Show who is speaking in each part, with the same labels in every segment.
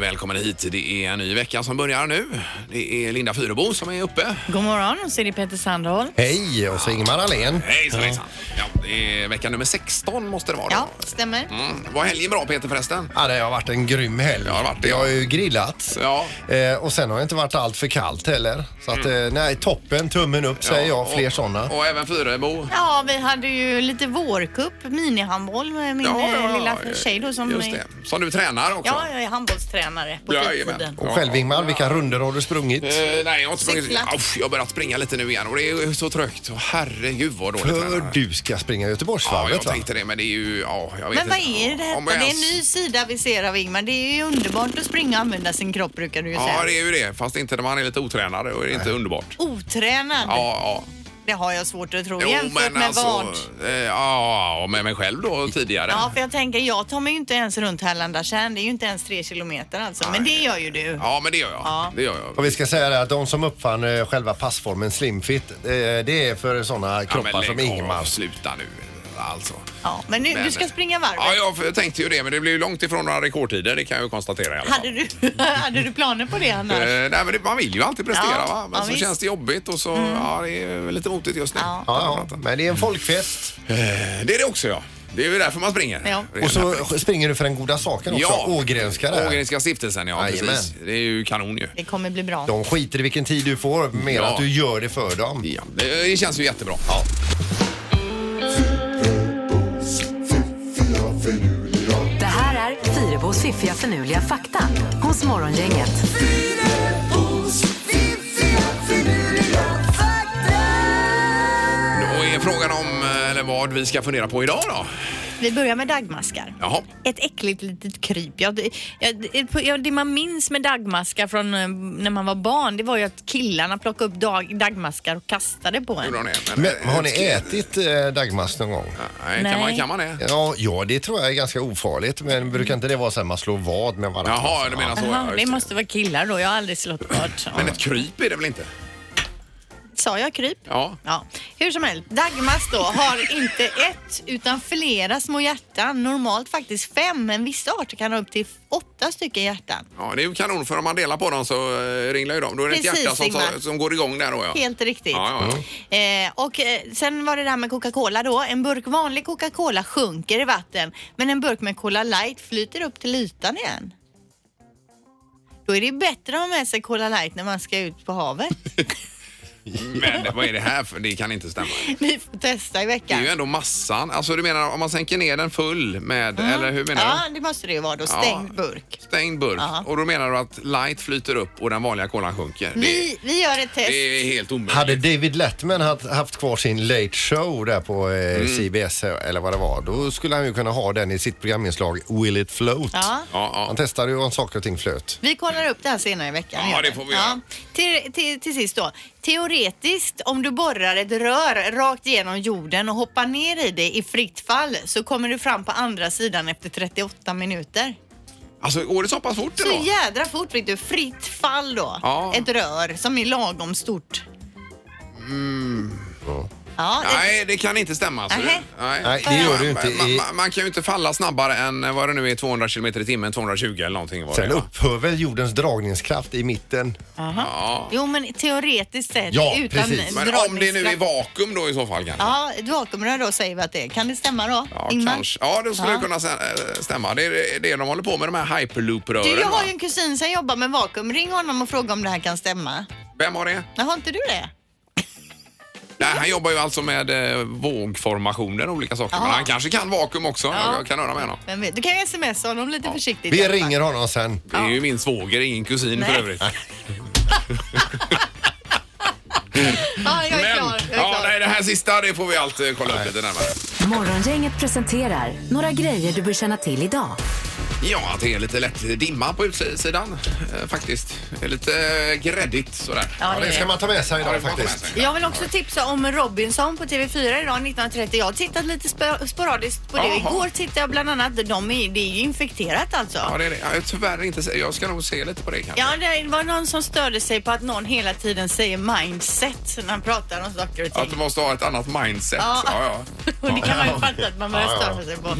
Speaker 1: välkommen hit. Det är en ny vecka som börjar nu. Det är Linda Fyrebo som är uppe.
Speaker 2: God morgon, så är det Peter Sandholm.
Speaker 3: Hej, och så Ingemar Ahlén.
Speaker 1: Hejsan hejsan. Ja, det är vecka nummer 16 måste det vara.
Speaker 2: Ja,
Speaker 1: då.
Speaker 2: stämmer.
Speaker 1: Mm. Var helgen bra Peter förresten?
Speaker 3: Ja, det har varit en grym helg.
Speaker 1: har varit det.
Speaker 3: Jag har ju grillat.
Speaker 1: Ja. Mm.
Speaker 3: Eh, och sen har det inte varit allt för kallt heller. Så att, eh, nej, toppen, tummen upp säger jag. Fler
Speaker 1: och,
Speaker 3: sådana.
Speaker 1: Och även Fyrebo.
Speaker 2: Ja, vi hade ju lite vårcup, minihandboll med min eh, lilla tjej då som... eh,
Speaker 1: Just det. Som du tränar också.
Speaker 2: Ja, jag är handbollstränare på
Speaker 1: Ja,
Speaker 2: fritiden.
Speaker 1: jajamän.
Speaker 3: Och själv Ingmar, vilka runder har du sprungit?
Speaker 1: Eh, nej, jag har inte sprungit.
Speaker 2: Cykla.
Speaker 1: Usch, jag har börjat springa lite nu igen och det är så trögt. Och herregud vad dåligt
Speaker 3: För
Speaker 1: tränar.
Speaker 3: du ska springa
Speaker 1: Ja,
Speaker 3: Göteborgsvarvet
Speaker 1: jag
Speaker 3: va?
Speaker 1: tänkte det, men det är ju... Ja, jag vet
Speaker 2: Men vad
Speaker 1: inte.
Speaker 2: är det
Speaker 1: Om
Speaker 2: detta?
Speaker 1: jag
Speaker 2: Det är en
Speaker 1: ens-
Speaker 2: ny sida vi ser av Ingmar. Det är ju underbart att springa och använda sin kropp brukar du ju
Speaker 1: Ja,
Speaker 2: säga.
Speaker 1: det är ju det. Fast inte när man är lite otränad. Då är det inte underbart.
Speaker 2: Otränad,
Speaker 1: Ja, ja.
Speaker 2: det har jag svårt att tro
Speaker 1: Jo,
Speaker 2: jämfört
Speaker 1: men
Speaker 2: med
Speaker 1: alltså...
Speaker 2: vad.
Speaker 1: eh, Ja, och med mig själv då tidigare.
Speaker 2: Ja, för jag tänker, jag tar mig ju inte ens runt Härlandakärn. Det är ju inte ens tre kilometer alltså. Men det gör ju du.
Speaker 1: Ja, men det gör jag.
Speaker 2: Ja.
Speaker 1: Det gör jag.
Speaker 3: Och vi ska säga det att de som uppfann eh, själva passformen slimfit, eh, det är för sådana kroppar
Speaker 1: ja, men
Speaker 3: som
Speaker 1: lägg av.
Speaker 3: Ingmar.
Speaker 1: Sluta nu. Alltså.
Speaker 2: Ja, men nu, du ska springa varvet.
Speaker 1: Ja, jag f- tänkte ju det, men det blir ju långt ifrån några rekordtider, det kan jag ju konstatera i alla fall.
Speaker 2: Hade du, hade du planer på det annars?
Speaker 1: Eh, nej, men det, man vill ju alltid prestera,
Speaker 2: Ja,
Speaker 1: va? men
Speaker 2: ja,
Speaker 1: så
Speaker 2: visst. Mm.
Speaker 1: känns det jobbigt och så ja, det är lite motigt just nu.
Speaker 2: Ja.
Speaker 3: Ja, ja, men det är
Speaker 1: Mm.
Speaker 3: en folkfest.
Speaker 1: Eh, Det är det också, ja. Det är ju därför man springer.
Speaker 2: Ja.
Speaker 1: Det är
Speaker 3: Och så
Speaker 1: därför.
Speaker 3: springer du för den goda saken också,
Speaker 1: Ja.
Speaker 3: Ågrenska där.
Speaker 1: Ågrenska stiftelsen, ja.
Speaker 3: Jajamän.
Speaker 1: Precis. Det är ju kanon ju.
Speaker 2: Det kommer bli bra.
Speaker 3: De skiter i vilken tid du får, mer
Speaker 1: Ja.
Speaker 3: att du gör det för dem.
Speaker 1: Ja, det, det känns ju jättebra. Ja.
Speaker 4: Det här är Fyrabos fiffiga förnuliga fakta hos Morgongänget.
Speaker 1: Då är frågan om eh, eller vad vi ska fundera på idag då.
Speaker 2: Vi börjar med dagmaskar.
Speaker 1: Jaha.
Speaker 2: Ett äckligt litet kryp. Ja, det, ja, det- på- ja, det man minns med dagmaskar från eh, när man var barn, det var ju att killarna plockade upp dag, dagmaskar och kastade på en.
Speaker 1: Hur har ni-
Speaker 3: Men har ni ätit eh, dagmask någon gång?
Speaker 1: Nej, kan man,
Speaker 2: Nej.
Speaker 1: kan man det?
Speaker 3: Ja, ja, det tror jag är ganska ofarligt. Men brukar inte det vara så här man slår vad med varandra?
Speaker 1: Jaha, du menar så.
Speaker 2: Jaha,
Speaker 1: ja, just
Speaker 2: det
Speaker 1: det.
Speaker 2: måste vara killar då. Jag har aldrig slått bort.
Speaker 1: Men ett kryp är det väl inte?
Speaker 2: Sa jag kryp?
Speaker 1: Ja.
Speaker 2: Ja, hur som helst. Dagmask då har inte ett utan flera små hjärtan. Normalt faktiskt fem, men vissa arter kan ha upp till åtta stycken hjärtan.
Speaker 1: Ja, det är ju kanon för om man delar på dem så eh, ringlar ju de. Då är det ett
Speaker 2: Precis,
Speaker 1: hjärta som,
Speaker 2: Ingmar.
Speaker 1: som går igång där då ja.
Speaker 2: Helt riktigt.
Speaker 1: Ja, ja,
Speaker 2: Eh, och eh, sen var det det här med Coca-Cola då. En burk vanlig Coca-Cola sjunker i vatten men en burk med Cola Light flyter upp till ytan igen. Då är det bättre att ha med sig Cola Light när man ska ut på havet.
Speaker 1: Men vad är det här för? Det kan inte stämma.
Speaker 2: Vi får testa i
Speaker 1: Det är ju
Speaker 2: veckan.
Speaker 1: ändå massan. Alltså du menar om man sänker ner den full med, eller hur menar
Speaker 2: Mm. Ja,
Speaker 1: du?
Speaker 2: det måste det ju vara då.
Speaker 1: Ja.
Speaker 2: Stängd burk.
Speaker 1: Stängd burk.
Speaker 2: Ja.
Speaker 1: Och då menar du att light flyter upp och den vanliga kolan sjunker? Det,
Speaker 2: Vi, vi gör ett test.
Speaker 1: det är helt omöjligt.
Speaker 3: Hade David Letterman haft, haft kvar sin Late Show där på eh, CBS eller vad det var, då skulle han ju kunna ha den i sitt programinslag Will It Float.
Speaker 2: Ja.
Speaker 1: Ja, ja.
Speaker 3: Han testade ju om saker och ting flöt.
Speaker 2: Vi kollar upp det här senare i veckan.
Speaker 1: Ja,
Speaker 2: gör
Speaker 1: det får vi göra.
Speaker 2: Till, till, till sist då. Teoretiskt, om du borrar ett rör rakt genom jorden och hoppar ner i det i fritt fall så kommer du fram på andra sidan efter 38 minuter.
Speaker 1: Alltså går det så pass fort
Speaker 2: Så
Speaker 1: ändå?
Speaker 2: jädra fort, vet du. Fritt fall då.
Speaker 1: Ja.
Speaker 2: Ett rör som är lagom stort. Ja, det-
Speaker 1: Nej, det kan inte stämma. ser du.
Speaker 2: Nej.
Speaker 3: Nej, det gör du inte
Speaker 1: Man,
Speaker 3: i-
Speaker 1: man, man kan ju inte falla snabbare än eh, vad det nu är 200 km i timmen, 220 eller någonting. Var
Speaker 3: Sen
Speaker 1: det, va?
Speaker 3: upphör väl jordens dragningskraft i mitten.
Speaker 1: ja.
Speaker 2: Jo, men teoretiskt sett
Speaker 3: Ja,
Speaker 2: utan
Speaker 3: precis.
Speaker 1: Men om det nu är vakuum då i så fall kanske?
Speaker 2: Ja, ett vakuumrör då säger vi att det är. Kan det stämma då?
Speaker 1: Ja,
Speaker 2: Ingmar?
Speaker 1: kanske. Ja, det skulle
Speaker 2: Ja.
Speaker 1: kunna sä- äh, stämma. Det är det de håller på med, de här hyperloop-rören.
Speaker 2: Du, jag
Speaker 1: va?
Speaker 2: har ju en kusin som jobbar med vakuum. Ring honom och fråga om det här kan stämma.
Speaker 1: Vem har det?
Speaker 2: Nej, har inte du det?
Speaker 1: Nej, han jobbar ju alltså med eh, vågformationer och olika saker.
Speaker 2: Ja.
Speaker 1: Men han kanske kan vakuum också.
Speaker 2: Ja.
Speaker 1: Jag kan höra med honom.
Speaker 2: Vem vet? Du kan ju smsa honom lite försiktigt. i
Speaker 3: Vi
Speaker 2: alla fall.
Speaker 3: ringer honom sen.
Speaker 1: Det är ju min svåger, ingen kusin
Speaker 2: Nej.
Speaker 1: för övrigt.
Speaker 2: Ja, jag är klar. Jag är
Speaker 1: ja,
Speaker 2: klar.
Speaker 1: nej, det här sista det får vi allt eh, kolla upp lite närmare.
Speaker 4: Morgongänget presenterar några grejer du bör känna till idag.
Speaker 1: Ja, att det är lite lätt dimma på utsidan eh, faktiskt. Det är Lite eh, gräddigt sådär.
Speaker 3: Ja, det ska man ta med sig idag faktiskt.
Speaker 2: Jag vill också tipsa om Robinson på TV4 idag 19.30. Jag har tittat lite spo- sporadiskt på det.
Speaker 1: Jaha.
Speaker 2: Igår tittade jag bland annat. De är, det är ju infekterat alltså.
Speaker 1: Ja, det är det. Ja, jag är tyvärr inte se- Jag ska nog se lite på det kanske.
Speaker 2: Ja, det var någon som störde sig på att någon hela tiden säger mindset när han pratar om saker och
Speaker 1: Att du
Speaker 2: ting.
Speaker 1: måste ha ett annat mindset. Ja,
Speaker 2: Ja.
Speaker 1: ja.
Speaker 2: Och det kan man ju fatta att man börjar störa sig på.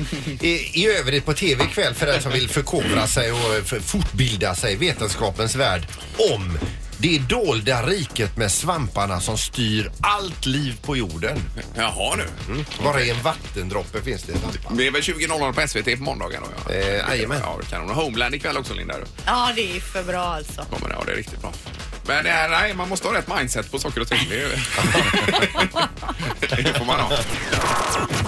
Speaker 3: I, I övrigt på tv ikväll för den som vill förkovra sig och för- fortbilda sig i vetenskapens värld om det dolda riket med svamparna som styr allt liv på jorden.
Speaker 1: Jaha nu.
Speaker 3: Bara i en vattendroppe finns det svampar.
Speaker 1: Det är väl 20.00 på SVT på måndagen då? ja.
Speaker 3: Eh, jajamän.
Speaker 1: Ja, kanon. Och Homeland ikväll också Linda. du.
Speaker 2: Ja, det är för bra alltså.
Speaker 1: Kommer det, ja det är riktigt bra. Men det här, nej, man måste ha rätt mindset på saker och ting. Det, är ju- det får man ha.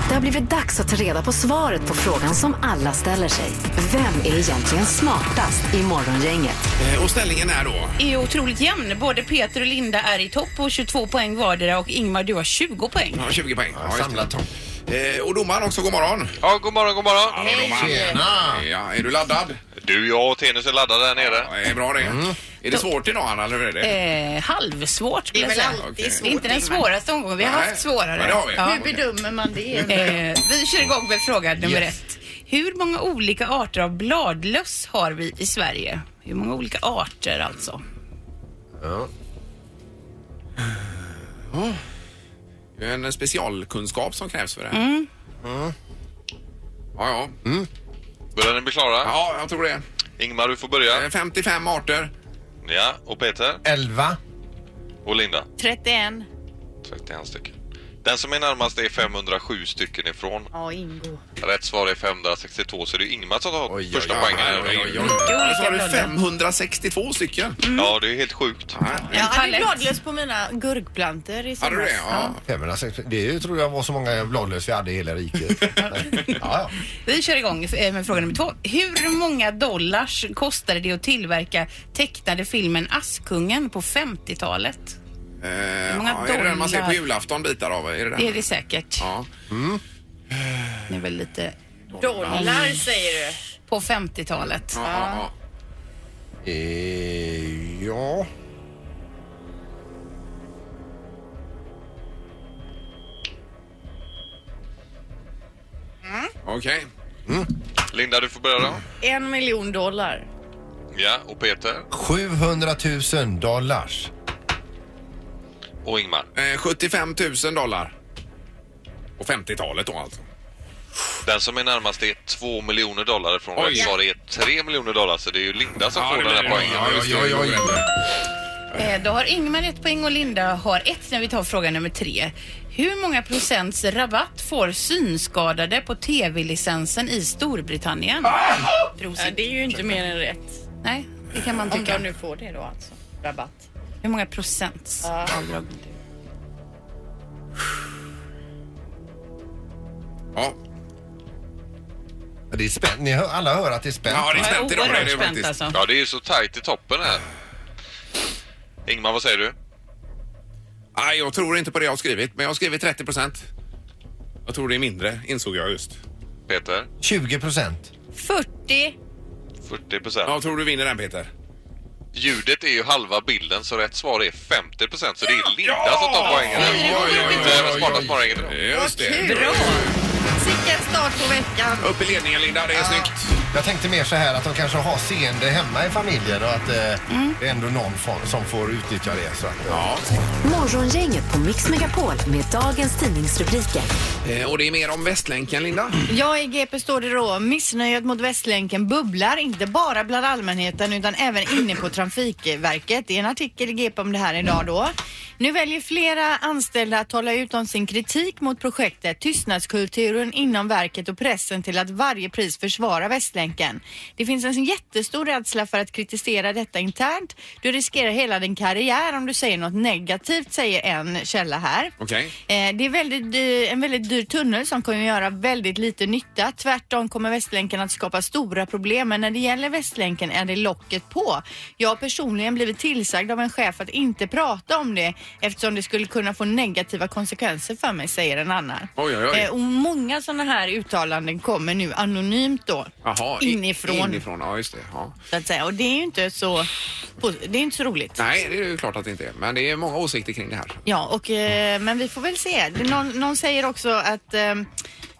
Speaker 4: Det har blivit dags att ta reda på svaret på frågan som alla ställer sig. Vem är egentligen smartast i Morgongänget?
Speaker 1: Eh, Och ställningen är då?
Speaker 5: är otroligt jämn. Både Peter och Linda är i topp på 22 poäng vardera och Ingmar du har 20 poäng.
Speaker 1: Ja, 20 poäng. Ja, just det.
Speaker 3: Samlat topp.
Speaker 1: Eh, Och domaren också, god morgon.
Speaker 6: Ja, god morgon, god morgon.
Speaker 1: Hallå domaren.
Speaker 3: Tjena!
Speaker 1: Ja, är du laddad?
Speaker 6: Du, jag och Tenus är laddade där
Speaker 1: Ja,
Speaker 6: nere.
Speaker 1: är bra det.
Speaker 3: Mm.
Speaker 1: Är det svårt idag Anna, eller hur är det?
Speaker 5: Eh, halvsvårt skulle
Speaker 2: Det är
Speaker 5: jag
Speaker 2: väl
Speaker 5: säga.
Speaker 2: alltid
Speaker 1: okej.
Speaker 2: svårt.
Speaker 5: Det är inte den
Speaker 2: Ingmar.
Speaker 5: svåraste omgången. Vi har
Speaker 1: Nej,
Speaker 5: haft svårare.
Speaker 1: men det har vi.
Speaker 5: Ja.
Speaker 2: Hur bedömer man det?
Speaker 5: Eh, vi kör igång med fråga nummer
Speaker 3: Yes.
Speaker 5: ett. Hur många olika arter av bladlöss har vi i Sverige? Hur många olika arter
Speaker 1: Mm.
Speaker 5: alltså?
Speaker 3: Ja.
Speaker 1: Det är en specialkunskap som krävs för det här.
Speaker 5: Mm.
Speaker 3: Mm.
Speaker 1: Ja, ja.
Speaker 6: Börjar ni bli klara?
Speaker 1: ja, jag tror det.
Speaker 6: Ingmar, du får börja.
Speaker 1: Eh, 55 arter.
Speaker 6: Ja, och Peter
Speaker 3: 11.
Speaker 6: och Linda.
Speaker 2: 31.
Speaker 6: 31 stycken. Den som är närmast är 507 stycken ifrån.
Speaker 2: Ja, Ingo.
Speaker 6: Rätt svar är 562, så det är Ingmar som tar
Speaker 3: Oj,
Speaker 6: första
Speaker 3: oj,
Speaker 6: poängen.
Speaker 1: Ja, ja,
Speaker 6: här.
Speaker 1: ja, ja.
Speaker 5: olika
Speaker 1: Så har du
Speaker 5: blöder.
Speaker 1: 562
Speaker 5: Mm.
Speaker 1: stycken.
Speaker 6: Ja, det är helt sjukt.
Speaker 2: Jag hade
Speaker 5: Palett.
Speaker 2: bladlöss på mina gurkplantor i
Speaker 1: Hade du
Speaker 2: somras.
Speaker 1: det? Ja.
Speaker 3: 560. Det är ju, tror jag var så många bladlöss vi hade i hela riket. Nej. ja, ja.
Speaker 5: Vi kör igång eh, med fråga nummer två. Hur många dollars kostade det att tillverka tecknade filmen Askungen på 50-talet?
Speaker 1: Eh,
Speaker 5: många
Speaker 1: ja, är det den man ser på
Speaker 5: dollar?
Speaker 1: julafton bitar av? Är det den?
Speaker 5: Det är det säkert.
Speaker 1: Ja.
Speaker 5: Det är väl lite
Speaker 2: Dollar säger du.
Speaker 5: på 50-talet.
Speaker 1: Ja, ja,
Speaker 3: Eh, ja.
Speaker 1: ja. Okej.
Speaker 6: Linda, du får börja då.
Speaker 2: En miljon dollar.
Speaker 6: Ja, och Peter
Speaker 3: 700 000 dollars.
Speaker 6: och Ingmar.
Speaker 1: Eh, 75 000 dollar. Och 50-talet då alltså.
Speaker 6: Den som är närmast är 2 miljoner dollar ifrån.
Speaker 1: Oj.
Speaker 6: Rätt svar är 3 miljoner dollar, så det är ju Linda som får
Speaker 1: det
Speaker 6: den här
Speaker 1: blir det.
Speaker 6: poängen.
Speaker 1: Ja, just det.
Speaker 3: Oj, oj, oj.
Speaker 5: Eh, Då har Ingmar ett poäng och Linda har ett när vi tar fråga nummer tre. Hur många procents rabatt får synskadade på tv-licensen i Storbritannien? Prosit.
Speaker 7: Det är ju inte mer än rätt.
Speaker 5: Nej, det kan man
Speaker 7: Om
Speaker 5: tycka.
Speaker 7: de nu får det då alltså. Rabatt.
Speaker 5: Hur många procents avdrag?
Speaker 1: Ja.
Speaker 3: Det är spänt. Ni hör, alla hör att det är spänt.
Speaker 1: ja, det är
Speaker 5: Jag är
Speaker 1: spänt idag. Det är
Speaker 5: oerhört
Speaker 1: det
Speaker 5: spänt
Speaker 1: faktiskt.
Speaker 5: alltså.
Speaker 6: Ja, det är ju så tajt i toppen här. Ingmar, vad säger du?
Speaker 1: Nej, jag tror inte på det jag har skrivit, men jag har skrivit 30 procent. Jag tror det är mindre, insåg jag just.
Speaker 6: Peter?
Speaker 3: 20 procent.
Speaker 7: 40.
Speaker 6: 40 procent.
Speaker 1: Jag tror du vinner den, Peter.
Speaker 6: Ljudet är ju halva bilden så rätt svar är 50 så det är Linda som tar poängen.
Speaker 1: Oj, oj, oj, oj,
Speaker 6: Det är även
Speaker 1: oj,
Speaker 6: smartast
Speaker 1: oj.
Speaker 6: morgonen idag.
Speaker 1: Just det.
Speaker 2: Bra! Sicken start på veckan.
Speaker 1: Upp i ledningen, Linda. Det är snyggt.
Speaker 3: Jag tänkte mer så här att de kanske har seende hemma i familjen och att eh, det är ändå någon fa- som får utnyttja det. Så att, eh,
Speaker 1: Ja.
Speaker 4: Morgongänget på Mix Megapol med dagens tidningsrubriker.
Speaker 1: Eh, Och det är mer om Västlänken, Linda.
Speaker 2: Ja, i GP står det då missnöjet mot Västlänken bubblar inte bara bland allmänheten utan även inne på Trafikverket. Det är en artikel i GP om det här idag då. Nu väljer flera anställda att tala ut om sin kritik mot projektet, tystnadskulturen inom verket och pressen till att varje pris försvara Västlänken. Det finns en jättestor rädsla för att kritisera detta internt. Du riskerar hela din karriär om du säger något negativt, säger en källa här.
Speaker 1: Okej.
Speaker 2: Eh, Det är väldigt, dy- en väldigt dyr tunnel som kommer göra väldigt lite nytta. Tvärtom kommer Västlänken att skapa stora problem men när det gäller Västlänken är det locket på. Jag har personligen blivit tillsagd av en chef att inte prata om det eftersom det skulle kunna få negativa konsekvenser för mig, säger en annan.
Speaker 1: Oj, oj, oj.
Speaker 2: Eh, Och många sådana här uttalanden kommer nu anonymt då.
Speaker 1: Jaha, i-
Speaker 2: inifrån.
Speaker 1: Inifrån, ja just det. Ja.
Speaker 2: Så att säga. Och det är ju inte så, det är inte så roligt.
Speaker 1: Nej, det är ju klart att det inte är. Men det är många åsikter kring det här.
Speaker 2: Ja, och, eh, men vi får väl se. Det- Någon, någon säger också att eh,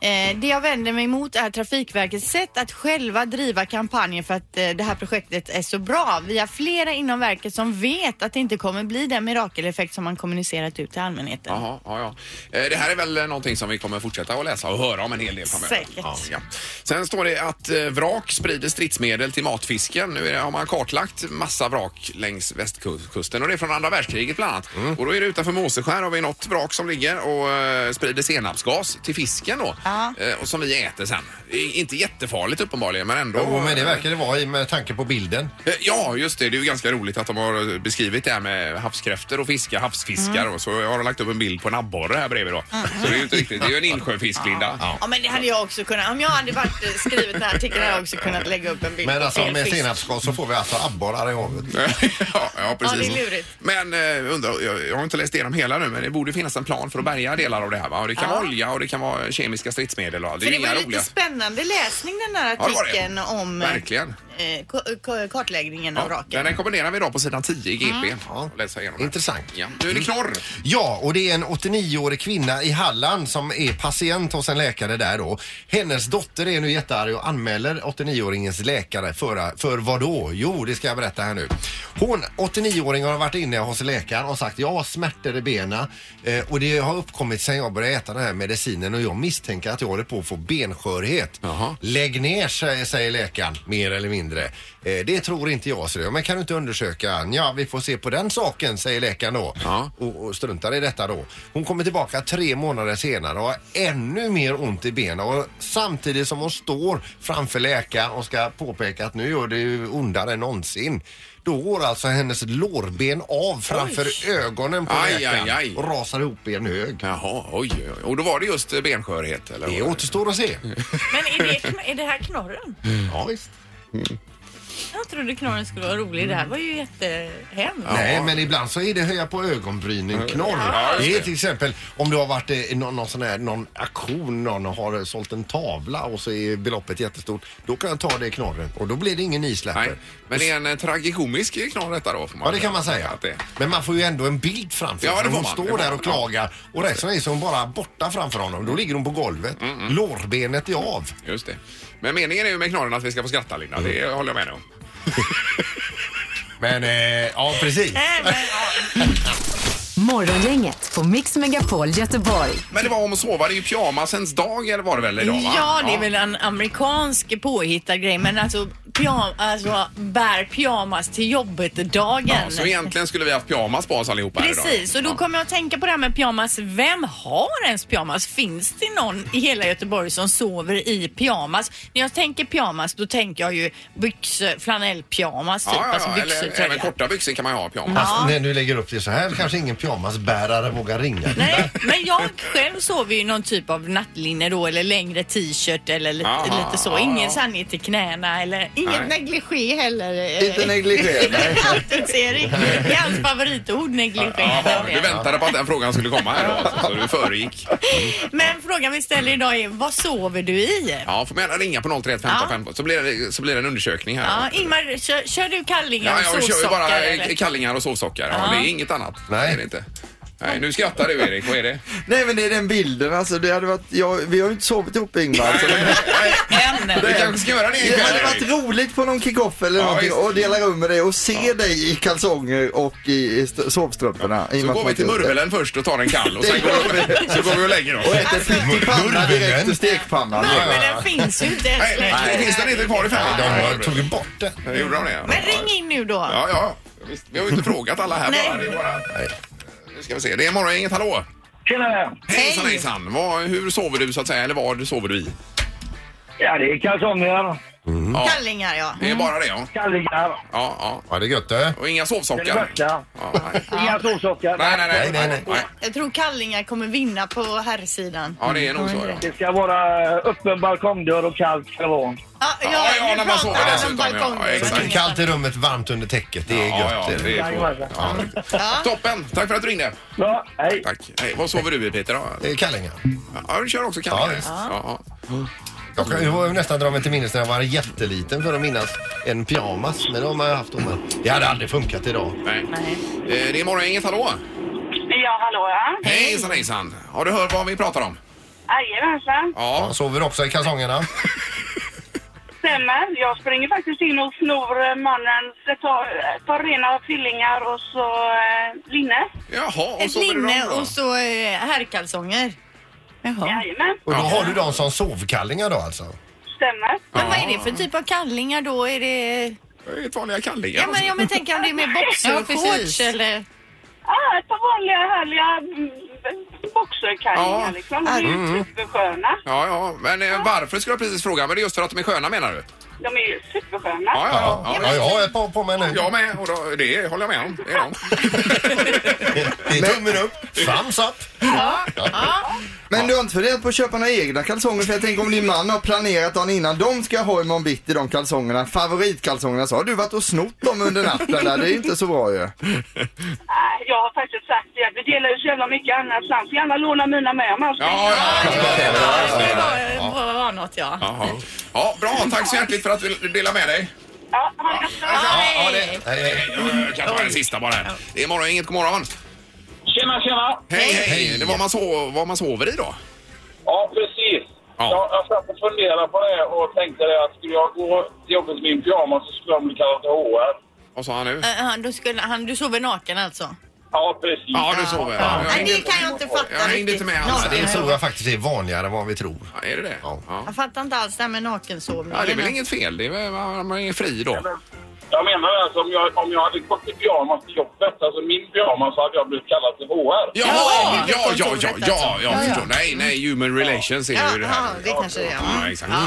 Speaker 2: Eh, det jag vänder mig mot är Trafikverkets sätt att själva driva kampanjen för att eh, det här projektet är så bra. Vi har flera inom verket som vet att det inte kommer bli den mirakeleffekt som man kommunicerat ut till allmänheten.
Speaker 1: Jaha, ja, ja. Eh, Det här är väl någonting som vi kommer fortsätta att läsa och höra om en hel del framöver.
Speaker 2: Säkert.
Speaker 1: Ja, ja. Sen står det att eh, vrak sprider stridsmedel till matfisken. Nu är det, har man kartlagt massa vrak längs västkusten och det är från andra världskriget bland annat. Och då är det utanför Måseskär har vi något vrak som ligger och eh, sprider senapsgas till fisken då.
Speaker 2: Ja.
Speaker 1: Eh, Och som vi äter sen. Det är Inte jättefarligt uppenbarligen men ändå.
Speaker 3: Jo, men det verkar det vara i- med tanke på bilden.
Speaker 1: Eh, Ja, just det. Det är ju ganska roligt att de har beskrivit det här med havskräftor och fiskar, havsfiskar.
Speaker 2: Mm.
Speaker 1: Och så har de lagt upp en bild på en abborre här bredvid då. Så det är ju inte riktigt. Det är ju en insjöfisk, Linda.
Speaker 2: Ja men det hade jag också kunnat. Om jag hade varit, eh, skrivit den här artikeln hade jag också kunnat lägga upp en bild
Speaker 3: Men
Speaker 2: på
Speaker 3: alltså
Speaker 2: fel
Speaker 3: med
Speaker 2: fisk.
Speaker 3: senapsgas så får vi alltså abborrar i havet.
Speaker 1: ja, ja, precis.
Speaker 7: Ja, det är lurigt.
Speaker 1: Men eh, undrar, jag, jag har inte läst igenom hela nu, men det borde finnas en plan för att bärga delar av det här. Va? Och det kan vara olja och det kan vara kemiska stridsmedel. Och allt. det
Speaker 2: För
Speaker 1: är
Speaker 2: det
Speaker 1: ju
Speaker 2: var
Speaker 1: inga
Speaker 2: ju
Speaker 1: roliga.
Speaker 2: lite spännande läsning den här
Speaker 1: Ja, det var det.
Speaker 2: artikeln om eh,
Speaker 1: Verkligen.
Speaker 2: eh, ko- ko- kartläggningen av
Speaker 1: Ja,
Speaker 2: raken. Mm.
Speaker 1: men den kombinerar vi idag på sidan 10 i GP.
Speaker 3: Ja.
Speaker 1: Läsa igenom den.
Speaker 3: Intressant.
Speaker 1: Ja. Nu är det knorr.
Speaker 3: Ja, och det är en 89-årig kvinna i Halland som är patient hos en läkare där då. Hennes dotter är nu jättearg och anmäler 89-åringens läkare för, för vad då? Jo, det ska jag berätta här nu. Hon, 89-åringen, har varit inne hos läkaren och sagt jag har smärtor i benen eh, och det har uppkommit sen jag började äta den här medicinen och jag misstänker att jag håller på att få benskörhet.
Speaker 1: Jaha.
Speaker 3: Lägg ner sig, säger läkaren, mer eller mindre. Eh, det tror inte jag, säger jag. Men kan du inte undersöka? Ja, vi får se på den saken, säger läkaren då.
Speaker 1: Ja.
Speaker 3: Och, och struntar i detta då. Hon kommer tillbaka tre månader senare och har ännu mer ont i benen. Och samtidigt som hon står framför läkaren och ska påpeka att nu gör det ju ondare än någonsin. Då går alltså hennes lårben av framför ögonen på
Speaker 1: Aj,
Speaker 3: läkaren
Speaker 1: aj, aj.
Speaker 3: och rasar ihop i en hög.
Speaker 1: Jaha, oj, oj, oj. Och då var det just eh, benskörhet? Eller?
Speaker 3: Det återstår att se.
Speaker 7: Men är det, kn- är det här knorren?
Speaker 3: Ja, visst.
Speaker 7: Jag trodde knorren skulle vara rolig. Det
Speaker 1: Mm.
Speaker 7: här var ju jättehemskt.
Speaker 3: Nej, men ibland så är det höja på ögonbrynen knorr. det är till exempel om du har varit eh, någon, någon sån här någon auktion, någon har sålt en tavla och så är beloppet jättestort. Då kan jag ta det i knorren och då blir det ingen
Speaker 1: Nej,
Speaker 3: isläpper.
Speaker 1: men det är en eh, tragikomisk knorr detta då? Får man
Speaker 3: Ja, det kan man säga.
Speaker 1: Att det-
Speaker 3: Men man får ju ändå en bild framför
Speaker 1: Ja, det
Speaker 3: sig.
Speaker 1: får man.
Speaker 3: Hon
Speaker 1: Det
Speaker 3: står
Speaker 1: får
Speaker 3: där
Speaker 1: man.
Speaker 3: och klagar och resten är som bara borta framför honom. Då ligger hon på golvet.
Speaker 1: Mm,
Speaker 3: Lårbenet är av.
Speaker 1: Just det. Men meningen är ju med knorren att vi ska få skratta, Linda.
Speaker 3: Mm.
Speaker 1: Det håller jag med om.
Speaker 3: Men eh, ja, precis.
Speaker 4: Morgongänget på Mix Megapol Göteborg.
Speaker 1: Men det var om att sova. Det är ju pyjamasens dag, eller var det väl idag? Va?
Speaker 2: Ja, det är väl en amerikansk påhittad grej, men alltså, pyjam, alltså bär pyjamas till jobbet-dagen.
Speaker 1: Ja, så egentligen skulle vi haft pyjamas på oss allihopa här
Speaker 2: Precis, och
Speaker 1: idag.
Speaker 2: då kommer jag att tänka på det här med pyjamas. Vem har ens pyjamas? Finns det någon i hela Göteborg som sover i pyjamas? När jag tänker pyjamas, då tänker jag ju byxor, flanellpyjamas, typ.
Speaker 1: Ja, ja,
Speaker 2: alltså
Speaker 1: ja,
Speaker 2: byxor,
Speaker 1: eller, även
Speaker 2: tröja.
Speaker 1: korta byxor kan man ju ha pyjamas.
Speaker 3: Fast när du lägger upp det så här kanske ingen pyjamasbärare vågar ringa.
Speaker 2: Nej, men jag själv sover ju i någon typ av nattlinne då eller längre t-shirt eller lite,
Speaker 1: Aha,
Speaker 2: lite
Speaker 1: ja,
Speaker 2: så.
Speaker 1: ja.
Speaker 2: Ingen sanning till knäna eller inget
Speaker 1: Ah. Nej.
Speaker 2: negligé heller.
Speaker 3: Inte negligé, nej.
Speaker 2: Allt-Erik. Det är hans favoritord, negligé.
Speaker 1: Jaha, du väntade på att den frågan skulle komma här då, alltså, så du föregick.
Speaker 2: Men frågan vi ställer idag är, vad sover du i?
Speaker 1: Ja, får man gärna ringa på 031 15
Speaker 2: Ja.
Speaker 1: 15 så blir, det, så blir det en undersökning här.
Speaker 2: Ja, Ingmar, kör, kör du kallingar
Speaker 1: Ja,
Speaker 2: och
Speaker 1: jag kör ju
Speaker 2: sovsockar?
Speaker 1: bara
Speaker 2: eller?
Speaker 1: kallingar och sovsockar. Ja,
Speaker 2: Ja.
Speaker 1: Det är inget annat.
Speaker 3: Nej.
Speaker 1: Det är det inte. Nej, nu skrattar du Erik. Vad är det?
Speaker 8: Nej men det är den bilden alltså, det hade varit, jag, vi har ju inte sovit ihop Ingmar. Så det,
Speaker 1: Du kanske ska göra det
Speaker 8: det
Speaker 1: ikväll
Speaker 8: hade
Speaker 1: Erik.
Speaker 8: varit roligt på någon kick-off eller
Speaker 1: Ja,
Speaker 8: någonting
Speaker 1: visst.
Speaker 8: och dela rum med dig och se dig i kalsonger och i, i st- sovstrumporna. I och
Speaker 1: Så
Speaker 8: med
Speaker 1: går
Speaker 8: att
Speaker 1: vi till
Speaker 8: man-
Speaker 1: murveln först och tar en kall och sen går vi, så går vi och lägger oss.
Speaker 8: Och äter friktipanna direkt ur stekpannan.
Speaker 2: Nej, men den finns ju inte ens
Speaker 1: Nej, det
Speaker 2: längre.
Speaker 1: finns den inte kvar i
Speaker 3: De
Speaker 1: färgen.
Speaker 3: har- tog ju bort det.
Speaker 1: Ja, Gjorde de det?
Speaker 2: Men ring in nu då.
Speaker 1: Ja, ja. Visst, vi har ju inte frågat alla här
Speaker 2: Nej.
Speaker 1: bara. Det är bara... Nu ska vi se. Det är morgongänget, hallå!
Speaker 9: Tjena!
Speaker 1: Hejsan hejsan! Vad, hur sover du så att säga, eller vad sover du i?
Speaker 9: Ja, det är kalsonger,
Speaker 1: Ja,
Speaker 2: Kallingar, ja.
Speaker 1: det är bara det ja.
Speaker 9: kallingar,
Speaker 1: Ja, ja.
Speaker 3: Ja, det är gött det.
Speaker 1: Och inga
Speaker 9: det är
Speaker 1: sovsockar?
Speaker 9: det värsta.
Speaker 1: Ja, nej.
Speaker 9: Inga sovsockar.
Speaker 1: Nej, nej,
Speaker 3: Nej,
Speaker 1: nej.
Speaker 3: nej, nej.
Speaker 1: nej.
Speaker 2: Jag tror kallingar kommer vinna på herrsidan.
Speaker 1: Ja, det är nog så ja.
Speaker 9: Det ska vara öppen balkongdörr och kallt ska det vara.
Speaker 2: Ja,
Speaker 1: Ja, ja,
Speaker 2: nu
Speaker 1: när man
Speaker 2: pratar
Speaker 1: sover
Speaker 2: han om
Speaker 1: dessutom, ja.
Speaker 2: balkongen.
Speaker 1: Ja, exakt.
Speaker 3: Kallt i rummet, varmt under täcket. Det är
Speaker 1: Ja, ja,
Speaker 3: gött.
Speaker 1: det är på. Ja. Toppen! Tack för att du ringde.
Speaker 9: Ja, hej.
Speaker 1: Tack. Hej. Vad sover du i Peter? då?
Speaker 3: Eh, Kallingar.
Speaker 1: Ja, du kör också
Speaker 3: Ja,
Speaker 1: kallingar.
Speaker 3: visst.
Speaker 1: Ja, ja.
Speaker 3: Jag kan ju nästan dra mig till minnes när jag var jätteliten för att minnas en pyjamas. Men det har man ju haft om en. Det hade aldrig funkat idag.
Speaker 1: Nej. Eh, Det är morgongänget, hallå!
Speaker 10: Ja, hallå ja.
Speaker 1: Hejsan hejsan! Har du hört vad vi pratar om?
Speaker 10: Jajamensan,
Speaker 1: Ja,
Speaker 3: Ja, sover du också i kalsongerna?
Speaker 10: stämmer. Jag springer faktiskt in och snor eh, mannens, tar, eh, tar rena fillingar och så eh, linne.
Speaker 1: jaha. Och
Speaker 2: Ett
Speaker 1: så
Speaker 2: linne och så eh, herrkalsonger.
Speaker 7: Jaha.
Speaker 10: Jajamän,
Speaker 3: Och då
Speaker 1: Ja.
Speaker 3: har du dem som sovkallingar då alltså?
Speaker 10: stämmer.
Speaker 2: Men vad är det för typ av kallingar då? Är det...
Speaker 1: Ett vanliga kallingar. alltså.
Speaker 2: Ja, men jag men tänker om det är med boxershorts
Speaker 7: precis.
Speaker 2: eller...
Speaker 10: Ja, ett par vanliga härliga mm, boxerkallingar
Speaker 1: Ja.
Speaker 10: liksom. De är ju
Speaker 5: Mm.
Speaker 10: supersköna.
Speaker 1: Ja, ja, men eh, varför skulle jag precis fråga? Men det är just för att de är sköna menar du?
Speaker 10: De är ju supersköna.
Speaker 1: Ja, ja, ja.
Speaker 3: ja jag har ett par på mig nu.
Speaker 1: Jag med, och då, det håller jag med om. Det är de.
Speaker 3: Det är tummen upp, thumbs up.
Speaker 8: Men du har inte funderat på att köpa några egna kalsonger? För jag tänker om din man har planerat dagen innan, de ska jag ha imorgon bitti de kalsongerna, favoritkalsongerna, så har du varit och snott dem under natten där, det är ju inte så bra ju.
Speaker 10: Nej, Jag har faktiskt sagt det. Vi delar ju så jävla mycket annat. så Han får gärna låna mina med om han ska.
Speaker 1: Ja, ja, ja.
Speaker 7: Ja, det var, var, var något ja.
Speaker 1: Jaha. Ja, bra. Tack så hjärtligt för att du delade med dig.
Speaker 10: Ja, ha det gott.
Speaker 1: Ja, det, jag kan ta den sista bara. här. Det är morgon, inget god morgon.
Speaker 9: Tjena, tjena!
Speaker 1: Hej, hej. Det var man, sov, vad man sover i då.
Speaker 9: Ja, precis.
Speaker 1: Ja.
Speaker 9: Jag, jag satt och funderade på det och tänkte det att skulle jag gå till jobbet i min pyjamas så skulle de bli kallade till HR.
Speaker 1: Vad sa han nu?
Speaker 2: Eh, han- då skulle, han, du sover naken alltså?
Speaker 9: Ja, precis.
Speaker 1: Ja, du sover. Ja,
Speaker 2: Ja. Nej,
Speaker 1: jag,
Speaker 2: det kan jag inte fatta
Speaker 1: jag hängde inte
Speaker 2: riktigt.
Speaker 1: med alls.
Speaker 2: Naken.
Speaker 1: där.
Speaker 3: Det tror jag faktiskt är vanligare än vad vi tror.
Speaker 1: Ja, Är det det? Ja.
Speaker 3: Ja.
Speaker 1: Ja,
Speaker 2: Jag fattar inte alls det här med nakensovning.
Speaker 1: det är väl inget fel. Det är, väl- man är fri då.
Speaker 9: Jag menar alltså, om jag, om jag hade gått i pyjamas till jobbet, alltså min pyjamas, så hade jag blivit kallad till HR.
Speaker 1: Ja, ja, ja, ja,
Speaker 2: Ja,
Speaker 1: ja,
Speaker 2: kontoret
Speaker 1: ja,
Speaker 2: alltså.
Speaker 1: jag förstår. Nej, nej, human relations är
Speaker 2: Ja,
Speaker 1: ju det
Speaker 2: ja,
Speaker 1: här.
Speaker 2: det kanske det är.
Speaker 1: Ja,
Speaker 2: Mm.
Speaker 1: exakt.
Speaker 2: Ja.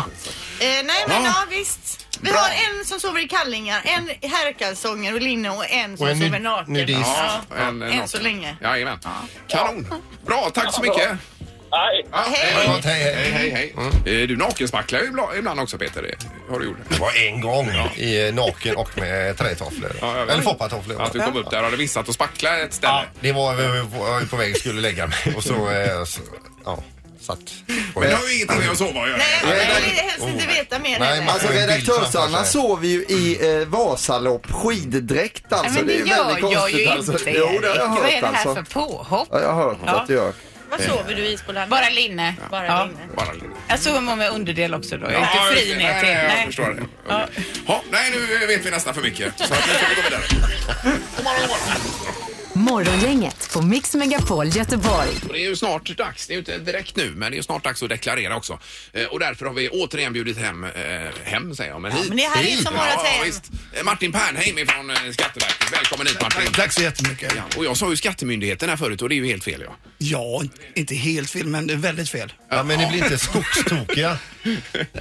Speaker 2: Eh, nej
Speaker 1: Ja.
Speaker 2: men ja. visst. Vi
Speaker 1: Bra.
Speaker 2: har en som sover i kallingar, en i herrkalsonger och linne och en som
Speaker 3: Och en nu-
Speaker 2: sover naken.
Speaker 3: nudist.
Speaker 2: Ja.
Speaker 1: Ja, en,
Speaker 2: Än så länge.
Speaker 1: Jajamän. Kanon. Bra, tack så mycket.
Speaker 9: Nej.
Speaker 1: Ja,
Speaker 2: Hej.
Speaker 3: Ja, hej, hej.
Speaker 1: Hej, hej, hej.
Speaker 2: Mm.
Speaker 1: Eh, Du nakenspacklar ju ibla- ibland också, Peter. Det har du gjort.
Speaker 3: Det var en gång i eh, naken och med trätofflor.
Speaker 1: Ja, jag vet.
Speaker 3: Eller foppatofflor.
Speaker 1: Att du kom upp där och hade missat att spackla ett ställe.
Speaker 3: Ja, det var jag var på väg skulle lägga mig och så, eh, så ja, satt.
Speaker 1: Men det har ju ingenting med att sova att göra.
Speaker 2: Nej, jag vill helst inte
Speaker 1: Oh.
Speaker 2: veta mer
Speaker 3: Nej,
Speaker 2: heller.
Speaker 3: men-
Speaker 8: Alltså
Speaker 3: Och en bild framför
Speaker 8: redaktörs-Anna
Speaker 3: sig.
Speaker 8: sover ju i eh, Vasalopp skiddräkt alltså.
Speaker 5: men
Speaker 8: det är
Speaker 5: det
Speaker 8: ju
Speaker 5: gör
Speaker 8: väldigt
Speaker 5: jag ju
Speaker 8: konstigt alltså.
Speaker 5: inte,
Speaker 8: Jo, det har jag
Speaker 5: Vad är
Speaker 8: hört
Speaker 5: det här
Speaker 8: alltså.
Speaker 5: för påhopp?
Speaker 8: Ja, jag har hört att du gör.
Speaker 7: Vad sover du i Spolan?
Speaker 5: Bara linne.
Speaker 7: Bara
Speaker 5: Ja.
Speaker 7: linne.
Speaker 1: Bara lite.
Speaker 5: Jag sover med underdel också då. Jag är
Speaker 1: Ja,
Speaker 5: inte
Speaker 1: just
Speaker 5: fri
Speaker 1: det.
Speaker 5: när jag är
Speaker 1: Nej, nej,
Speaker 5: till-
Speaker 1: Jag förstår det. Okej. Ja, nej, nu vet vi nästan för mycket. Så att nu får vi gå vidare. God morgon, god morgon.
Speaker 4: Morgongänget på Mix Megapol Göteborg.
Speaker 1: Och Det är ju snart dags. Det är ju inte direkt nu, men det är ju snart dags att deklarera också. Eh, Och därför har vi återigen bjudit hem, eh, hem säger jag, men hit.
Speaker 2: men det här är
Speaker 1: Hit.
Speaker 2: som vårat
Speaker 1: ja,
Speaker 2: hem.
Speaker 1: visst. Eh, Martin Pernheim ifrån eh, Skatteverket. Välkommen hit Martin.
Speaker 11: Tack så jättemycket.
Speaker 1: Ja, och jag sa ju Skattemyndigheten här förut och det är ju helt fel. Ja.
Speaker 11: Ja, inte helt fel, men det är väldigt fel.
Speaker 3: Ja, men ni blir inte skogstokiga.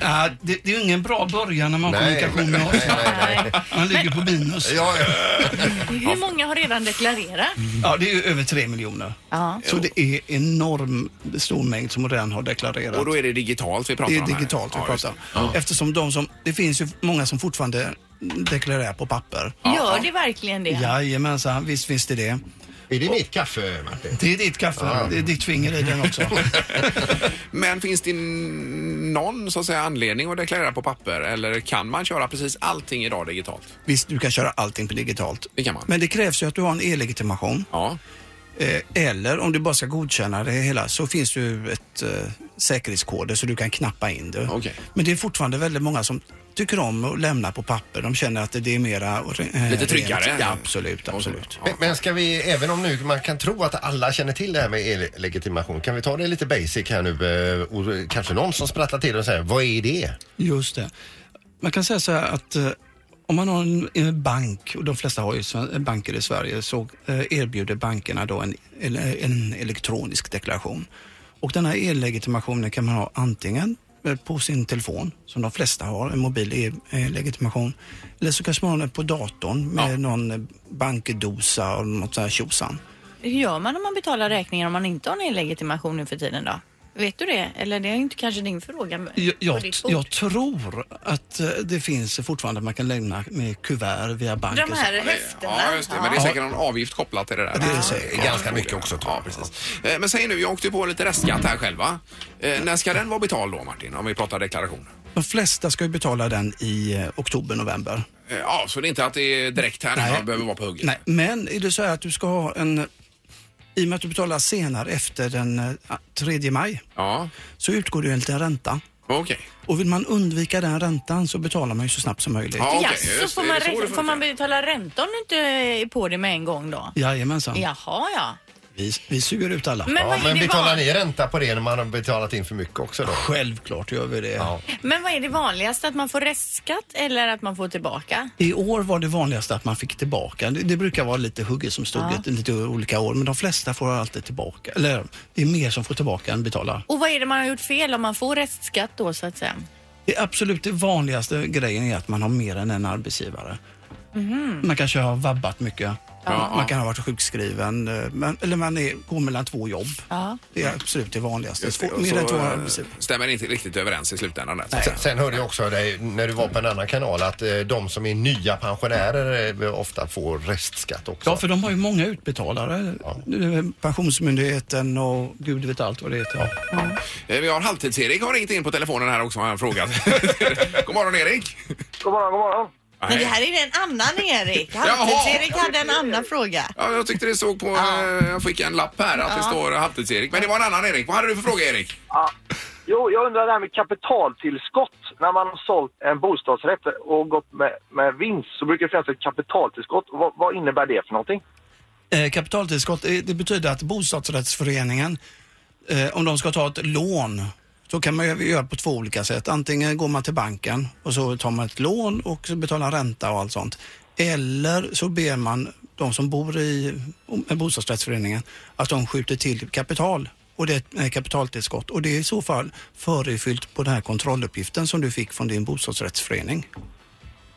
Speaker 11: Ja, det, det är ju ingen bra början när man har
Speaker 3: Nej,
Speaker 11: kommunikation med oss.
Speaker 3: nej, nej, nej.
Speaker 11: Man ligger på minus.
Speaker 3: Ja, ja.
Speaker 7: Hur många har redan deklarerat?
Speaker 11: Ja, det är ju över tre miljoner.
Speaker 7: Ja.
Speaker 11: Så det är enorm stor mängd som redan har deklarerat.
Speaker 1: Och då är det digitalt vi pratar
Speaker 11: det är
Speaker 1: om här.
Speaker 11: digitalt vi
Speaker 1: Ja, just
Speaker 11: pratar om. Eftersom de som, det finns ju många som fortfarande deklarerar på papper.
Speaker 7: Gör det verkligen det?
Speaker 11: Jajamensan, visst finns det det.
Speaker 3: Är det mitt kaffe, Martin?
Speaker 11: Det är ditt kaffe, det är ditt finger i den också.
Speaker 1: Men finns det någon så att säga, anledning att deklarera på papper eller kan man köra precis allting idag digitalt?
Speaker 11: Visst, du kan köra allting på digitalt.
Speaker 1: Det kan man.
Speaker 11: Men det krävs ju att du har en e-legitimation.
Speaker 1: Ja.
Speaker 11: Eh, Eller om du bara ska godkänna det hela så finns det ju ett eh, säkerhetskoder så du kan knappa in det.
Speaker 1: Okej.
Speaker 11: Men det är fortfarande väldigt många som tycker om att lämna på papper. De känner att det är mera... eh,
Speaker 1: Lite tryggare.
Speaker 11: rent. Ja, absolut, absolut.
Speaker 1: Ja.
Speaker 3: Men- Men ska vi, även om nu man kan tro att alla känner till det här med e-legitimation, kan vi ta det lite basic här nu? eh, Och kanske någon som sprattlar till och säger, vad är det?
Speaker 11: Just det. Man kan säga så här att eh, om man har en, en bank, och de flesta har ju sve- banker i Sverige, så eh, erbjuder bankerna då en, en, en elektronisk deklaration. Och den här e-legitimationen kan man ha antingen eh, på sin telefon, som de flesta har, en mobil e-legitimation. Eller så kanske man har den på datorn med någon eh, bankdosa och något sånt här tjosan.
Speaker 7: Hur gör man om man betalar räkningar om man inte har en e-legitimation nu för tiden då? Vet du det? Eller det är ju inte kanske din fråga. men-
Speaker 11: Jag,
Speaker 7: på
Speaker 11: jag,
Speaker 7: ditt bord.
Speaker 11: jag tror att eh, det finns fortfarande, man kan lämna med kuvert via banken.
Speaker 7: De här häftena.
Speaker 1: Ja, just det. Men det är säkert någon avgift kopplat till det där.
Speaker 11: Det är säkert.
Speaker 1: ganska mycket också. Ja, precis. Eh, Men säg nu, jag åkte ju på lite restskatt här själva. Eh, När ska den vara betald då, Martin? Om vi pratar deklaration.
Speaker 11: De flesta ska ju betala den i eh, oktober, november.
Speaker 1: Eh, Ja, så det är inte att det är direkt här nu,
Speaker 11: Nej.
Speaker 1: man behöver vara på hugget.
Speaker 11: Nej, men är det så här att du ska ha en i och med att du betalar senare efter den eh, 3 maj så utgår det ju en liten ränta.
Speaker 1: Okej.
Speaker 11: Och vill man undvika den räntan så betalar man ju så snabbt som möjligt.
Speaker 7: Jaså, får, man, rä- får man betala ränta om du inte är på det med en gång då?
Speaker 11: Jajamensan.
Speaker 7: Jaha, ja.
Speaker 11: Vi, vi suger ut alla.
Speaker 7: Men vad
Speaker 3: ja,
Speaker 7: är
Speaker 3: men
Speaker 7: det
Speaker 3: betalar
Speaker 7: van-
Speaker 3: ni ränta på det när man har betalat in för mycket också då?
Speaker 11: Självklart gör vi det.
Speaker 7: Men vad är det vanligaste? Att man får restskatt eller att man får tillbaka?
Speaker 11: I år var det vanligaste att man fick tillbaka. Det, det brukar vara lite hugget som stod
Speaker 7: Ja.
Speaker 11: i lite olika år, men de flesta får alltid tillbaka. Eller det är mer som får tillbaka än betalar.
Speaker 7: Och vad är det man har gjort fel om man får restskatt då så att säga?
Speaker 11: Det absolut det vanligaste grejen är att man har mer än en arbetsgivare.
Speaker 7: Mhm.
Speaker 11: Man kanske har vabbat mycket.
Speaker 7: Ja.
Speaker 11: Man kan ha varit sjukskriven. eh, Men, eller man är, går mellan två jobb.
Speaker 7: Ja.
Speaker 11: Det är absolut det vanligaste.
Speaker 1: Just det,
Speaker 11: Två-
Speaker 1: och
Speaker 11: mer än två
Speaker 1: så eh,
Speaker 11: arbetsgivare.
Speaker 1: stämmer inte riktigt överens i slutändan. Där, så att
Speaker 3: Sen,
Speaker 1: säga.
Speaker 3: sen hörde jag också dig när du var på en annan kanal att eh, de som är nya pensionärer eh, ofta får restskatt också.
Speaker 11: Ja, för de har ju många utbetalare. Nu är Pensionsmyndigheten och gud vet allt vad det heter.
Speaker 1: Eh, Vi har Halvtids-Erik har ringt in på telefonen här också har han frågat. god morgon Erik!
Speaker 9: God morgon, god morgon.
Speaker 2: Men det här är en annan Erik. Halvtids-Erik hade en annan fråga.
Speaker 1: Ja, jag tyckte det såg på, eh, jag fick en lapp här att det
Speaker 2: Ja.
Speaker 1: står Halvtids-Erik. Men det var en annan Erik. Vad hade du för fråga Erik?
Speaker 9: Ja. Jo, jag undrar det här med kapitaltillskott. När man har sålt en bostadsrätt och gått med, med vinst så brukar det finnas ett kapitaltillskott. Vad, vad innebär det för någonting?
Speaker 11: Eh, kapitaltillskott, eh, det betyder att bostadsrättsföreningen, eh, om de ska ta ett lån, så kan man ju göra på två olika sätt. Antingen går man till banken och så tar man ett lån och så betalar ränta och allt sånt. Eller så ber man de som bor i eh, bostadsrättsföreningen att de skjuter till kapital och det är ett eh, kapitaltillskott och det är i så fall förefyllt på den här kontrolluppgiften som du fick från din bostadsrättsförening.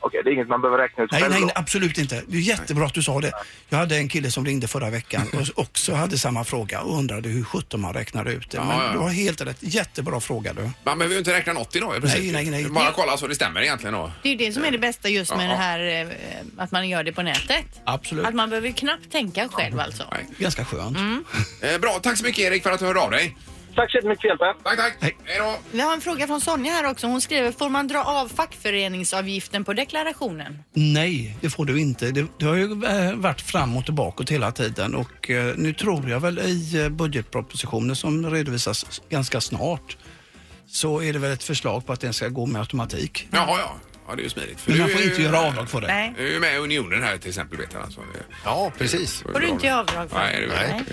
Speaker 9: Okej, det är inget man behöver räkna ut
Speaker 11: Nej,
Speaker 9: själv
Speaker 11: nej,
Speaker 9: då.
Speaker 11: nej, absolut inte. Det är jättebra att du sa det. Jag hade en kille som ringde förra veckan och också hade samma fråga och undrade hur sjutton man räknade ut det.
Speaker 1: Ja, ja.
Speaker 11: Men du har helt rätt. Jättebra fråga du.
Speaker 1: Man behöver ju inte räkna något idag i princip.
Speaker 11: Nej, nej, nej.
Speaker 1: Bara kolla så det stämmer egentligen då.
Speaker 7: Det är ju det som är det bästa just med
Speaker 1: Ja.
Speaker 7: det här eh, att man gör det på nätet.
Speaker 11: Absolut.
Speaker 7: Att man behöver knappt tänka själv alltså.
Speaker 11: Ganska skönt.
Speaker 1: Eh, bra, tack så mycket Erik för att du hörde av dig.
Speaker 9: Tack så jättemycket för hjälpen.
Speaker 1: Tack, tack. Hej. då.
Speaker 7: Vi har en fråga från Sonja här också. Hon skriver, får man dra av fackföreningsavgiften på deklarationen?
Speaker 11: Nej, det får du inte. Det, det har ju eh, varit fram och tillbaka hela tiden och eh, nu tror jag väl i eh, budgetpropositionen som redovisas s- ganska snart så är det väl ett förslag på att den ska gå med automatik.
Speaker 1: Jaha, ja. Ja, det är ju smidigt.
Speaker 11: Men
Speaker 1: du
Speaker 11: man
Speaker 1: är
Speaker 11: får
Speaker 1: ju-
Speaker 11: inte göra avdrag för det.
Speaker 7: Nej.
Speaker 1: Du är ju med i Unionen här till exempel vet jag. Alltså.
Speaker 3: Ja, precis.
Speaker 7: Får du inte göra avdrag för?
Speaker 1: Nej, det är väl-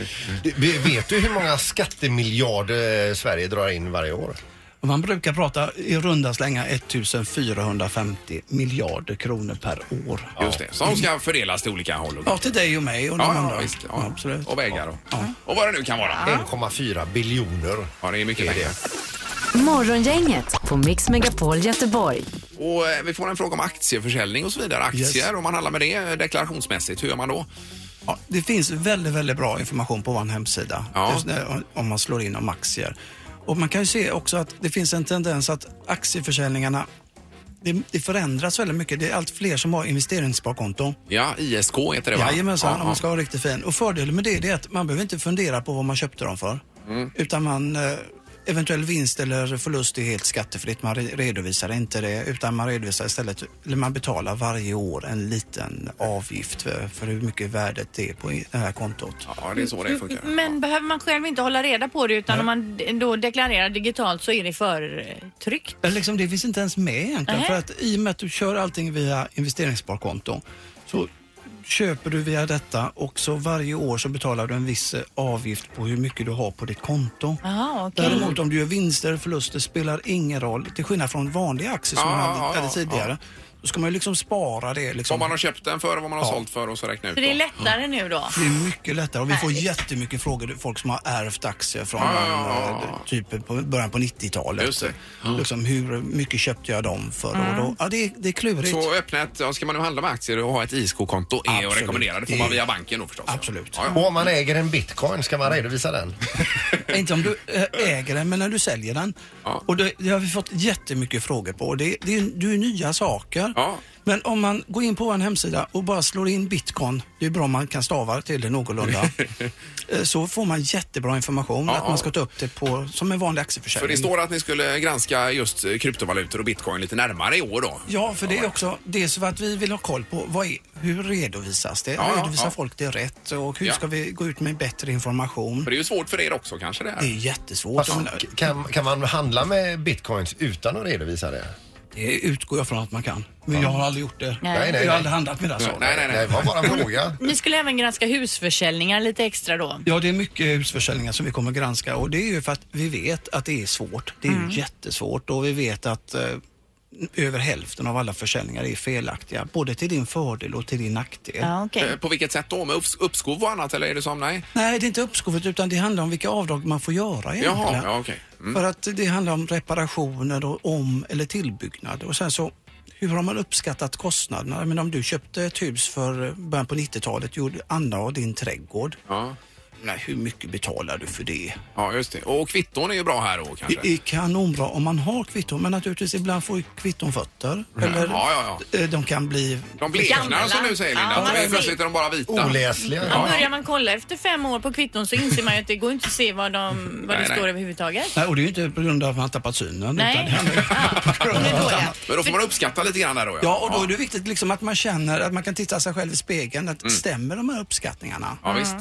Speaker 3: Du, vi- Vet du hur många skattemiljarder eh, Sverige drar in varje år?
Speaker 11: Och Man brukar prata i runda slängar 1450 miljarder kronor per år.
Speaker 1: Just det. Som ska fördelas till olika håll och
Speaker 11: Ja, till dig och mig och de
Speaker 1: Ja, ja,
Speaker 11: andra.
Speaker 1: visst. Ja.
Speaker 11: absolut.
Speaker 1: Och vägar och, och vad det nu kan vara.
Speaker 3: 1,4 biljoner.
Speaker 1: Ja, det är mycket pengar.
Speaker 4: Morgongänget på Mix Megapol Göteborg.
Speaker 1: Och eh, vi får en fråga om aktieförsäljning och så vidare. Aktier, om man handlar med det eh, deklarationsmässigt, hur gör man då?
Speaker 11: Ja, det finns väldigt, väldigt bra information på vår hemsida
Speaker 1: Ja.
Speaker 11: Just när- om man slår in om aktier. Och man kan ju se också att det finns en tendens att aktieförsäljningarna det, det förändras väldigt mycket. Det är allt fler som har investeringssparkonton.
Speaker 1: Ja, ISK heter det va?
Speaker 11: Jajamensan, om
Speaker 1: ja,
Speaker 11: man ska vara riktigt fin. Och fördelen med det, det är att man behöver inte fundera på vad man köpte dem för.
Speaker 1: Mm.
Speaker 11: Utan man, eh, eventuell vinst eller förlust är helt skattefritt. Man re- redovisar inte det utan man redovisar istället, eller man betalar varje år en liten avgift för, för hur mycket värdet är på i- det här kontot.
Speaker 1: ja, det är så det funkar.
Speaker 7: Mm, Men behöver man själv inte hålla reda på det utan om man d- då deklarerar digitalt så är det förtryckt?
Speaker 11: Eller Liksom, det finns inte ens med egentligen.
Speaker 7: Nej.
Speaker 11: För att i och med att du kör allting via investeringssparkonto så köper du via detta och så varje år så betalar du en viss eh, avgift på hur mycket du har på ditt konto.
Speaker 7: Jaha, okej.
Speaker 11: Däremot om du gör vinster och förluster spelar ingen roll. Till skillnad från vanliga aktier som
Speaker 1: Ja,
Speaker 11: man
Speaker 1: ja,
Speaker 11: hade,
Speaker 1: ja,
Speaker 11: hade tidigare. Då ska man ju liksom spara det. Liksom.
Speaker 1: Vad man har köpt den för, vad man har
Speaker 11: Ja.
Speaker 1: sålt för och så räkna ut.
Speaker 7: Så det är
Speaker 1: då.
Speaker 7: lättare nu då?
Speaker 11: Det är mycket lättare och vi får jättemycket frågor. Folk som har ärvt aktier från
Speaker 1: Ja, ja, ja,
Speaker 11: eh, typ på början på 90-talet.
Speaker 1: Just det. Ja.
Speaker 11: Liksom, hur mycket köpte jag dem för? Och då, ja, det, är- det är klurigt.
Speaker 1: Så öppna ett, ja, ska man nu handla med aktier och ha ett ISK-konto är att
Speaker 11: Absolut.
Speaker 1: rekommendera. Det får
Speaker 11: Det-
Speaker 1: man via banken då förstås.
Speaker 11: Absolut.
Speaker 1: Ja,
Speaker 3: Och om man äger en bitcoin, ska man redovisa den?
Speaker 11: Inte om du eh, äger den, men när du säljer den. Och det, det har vi fått jättemycket frågor på. Det, det, är, det är nya saker. dollar. Men om man går in på vår hemsida och bara slår in bitcoin, det är bra om man kan stava till det någorlunda, eh, så får man jättebra information
Speaker 1: Ja,
Speaker 11: att
Speaker 1: ja.
Speaker 11: man ska ta upp det på, som en vanlig aktieförsäljning.
Speaker 1: För det står att ni skulle granska just eh, kryptovalutor och bitcoin lite närmare i år då.
Speaker 11: Ja, för det är också dels för att vi vill ha koll på vad är, hur redovisas det?
Speaker 1: Ja, ja,
Speaker 11: Redovisar
Speaker 1: ja.
Speaker 11: folk det rätt? Och hur
Speaker 1: Ja.
Speaker 11: ska vi gå ut med bättre information?
Speaker 1: För det är ju svårt för er också kanske det här.
Speaker 11: Det är jättesvårt.
Speaker 1: Fast
Speaker 11: Jag menar,
Speaker 3: Kan, kan man handla med bitcoins utan att redovisa det?
Speaker 11: Det utgår jag från att man kan. Men
Speaker 3: Ja.
Speaker 11: jag har aldrig gjort det.
Speaker 3: Nej, nej,
Speaker 11: jag
Speaker 3: nej.
Speaker 11: har aldrig handlat med det.
Speaker 3: Nej, nej, nej. Nej, det var bara en fråga.
Speaker 7: Ni skulle även granska husförsäljningar lite extra då?
Speaker 11: Ja, det är mycket husförsäljningar som vi kommer granska och det är ju för att vi vet att det är svårt. Det är
Speaker 7: Mm.
Speaker 11: ju jättesvårt och vi vet att eh, över hälften av alla försäljningar är felaktiga. Både till din fördel och till din nackdel.
Speaker 1: Eh, På vilket sätt då? Med upps- uppskov och annat eller är det som nej?
Speaker 11: Nej, det är inte uppskovet utan det handlar om vilka avdrag man får göra egentligen.
Speaker 1: Jaha, ja, okej. Mm.
Speaker 11: För att det handlar om reparationer och om eller tillbyggnad. Och sen så, hur har man uppskattat kostnaderna? Men om du köpte ett hus för eh, början på 90-talet, gjorde Anna och din trädgård.
Speaker 1: Ja.
Speaker 11: Nej, hur mycket betalar du för det?
Speaker 1: Ja, just det. Och kvitton är ju bra här då kanske?
Speaker 11: Det är kanonbra om man har kvitton, men naturligtvis ibland får ju kvitton fötter. Eller
Speaker 1: Ja, ja,
Speaker 11: eh, de kan bli...
Speaker 1: De bleknar som du säger Linda.
Speaker 7: Ja,
Speaker 1: så
Speaker 7: man
Speaker 1: är
Speaker 7: ser-
Speaker 1: plötsligt är de bara vita.
Speaker 3: Oläsliga.
Speaker 7: Ja, börjar man kolla efter fem år på kvitton så inser man ju att det går inte att se vad, de, vad det
Speaker 11: Nej, nej.
Speaker 7: står överhuvudtaget.
Speaker 11: Nej, och det är ju inte på grund av att man har tappat synen.
Speaker 7: Nej.
Speaker 11: Utan det handlar ju
Speaker 1: Men då får man uppskatta lite grann där då
Speaker 11: Ja, och då är det viktigt liksom att man känner att man kan titta sig själv i spegeln. Att
Speaker 1: Mm.
Speaker 11: Stämmer de här uppskattningarna?
Speaker 1: Ja, visst.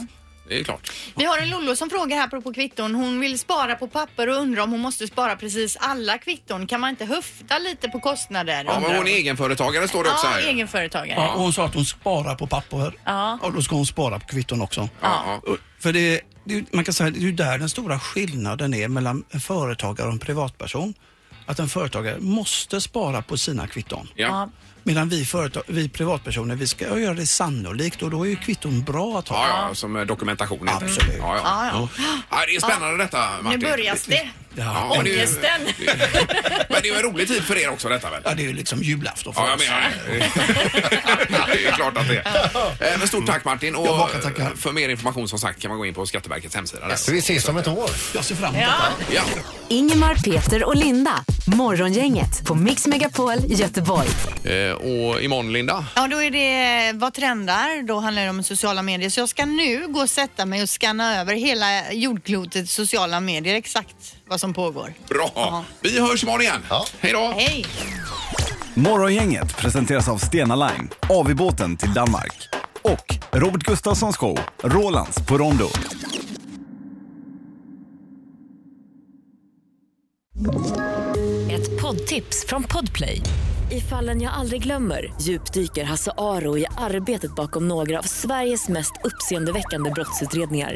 Speaker 1: Det är klart.
Speaker 2: Vi har en Lollo som frågar här apropå kvitton. Hon vill spara på papper och undrar om hon måste spara precis alla kvitton. Kan man inte höfta lite på kostnader?
Speaker 1: Ja, men
Speaker 2: undrar
Speaker 1: hon är egenföretagare står det också
Speaker 2: Ja,
Speaker 1: här. ju.
Speaker 2: egenföretagare.
Speaker 11: Ja, och hon sa att hon sparar på papper.
Speaker 2: Ja.
Speaker 11: Och då ska hon spara på kvitton också.
Speaker 1: Ja.
Speaker 11: Och- För det, det, är ju- man kan säga att det är ju där den stora skillnaden är mellan en företagare och en privatperson. Att en företagare måste spara på sina kvitton.
Speaker 1: Ja.
Speaker 11: Medan vi, företag, vi privatpersoner, vi ska göra det sannolikt och då är ju kvitton bra att ha.
Speaker 1: Ja, ja, som eh, dokumentation. heter det.
Speaker 11: Absolut.
Speaker 1: Ja, ja.
Speaker 11: Ja,
Speaker 1: Ja, det är spännande detta,
Speaker 2: Nu
Speaker 1: Martin.
Speaker 2: börjar det.
Speaker 1: Ja, men det är ju-
Speaker 2: Ångesten.
Speaker 1: Men det är ju en rolig tid för er också detta väl?
Speaker 11: Ja, det är ju liksom julafton för
Speaker 1: Ja, jag
Speaker 11: oss.
Speaker 1: menar det. det är klart att det är. Eh, Men stort tack Martin och eh, för mer information som sagt kan man gå in på Skatteverkets hemsida. där.
Speaker 3: Vi ses om ett år.
Speaker 11: Jag ser fram
Speaker 1: Ja. Ja.
Speaker 4: Ingemar, Peter och Linda. Morgongänget på Mix Megapol Göteborg.
Speaker 1: Eh, Och imorgon Linda?
Speaker 2: Ja, då är det vad trendar. Då handlar det om sociala medier. Så jag ska nu gå och sätta mig och scanna över hela jordklotets sociala medier. Exakt vad som pågår.
Speaker 1: Bra! Vi hörs imorgon igen. Hej då!
Speaker 2: Hej!
Speaker 12: Morgongänget presenteras av Stena Line, AV-båten till Danmark och Robert Gustafssons show Rolands på Rondo.
Speaker 13: Ett poddtips från Podplay. I fallen jag aldrig glömmer djupdyker Hasse Aro i arbetet bakom några av Sveriges mest uppseendeväckande brottsutredningar.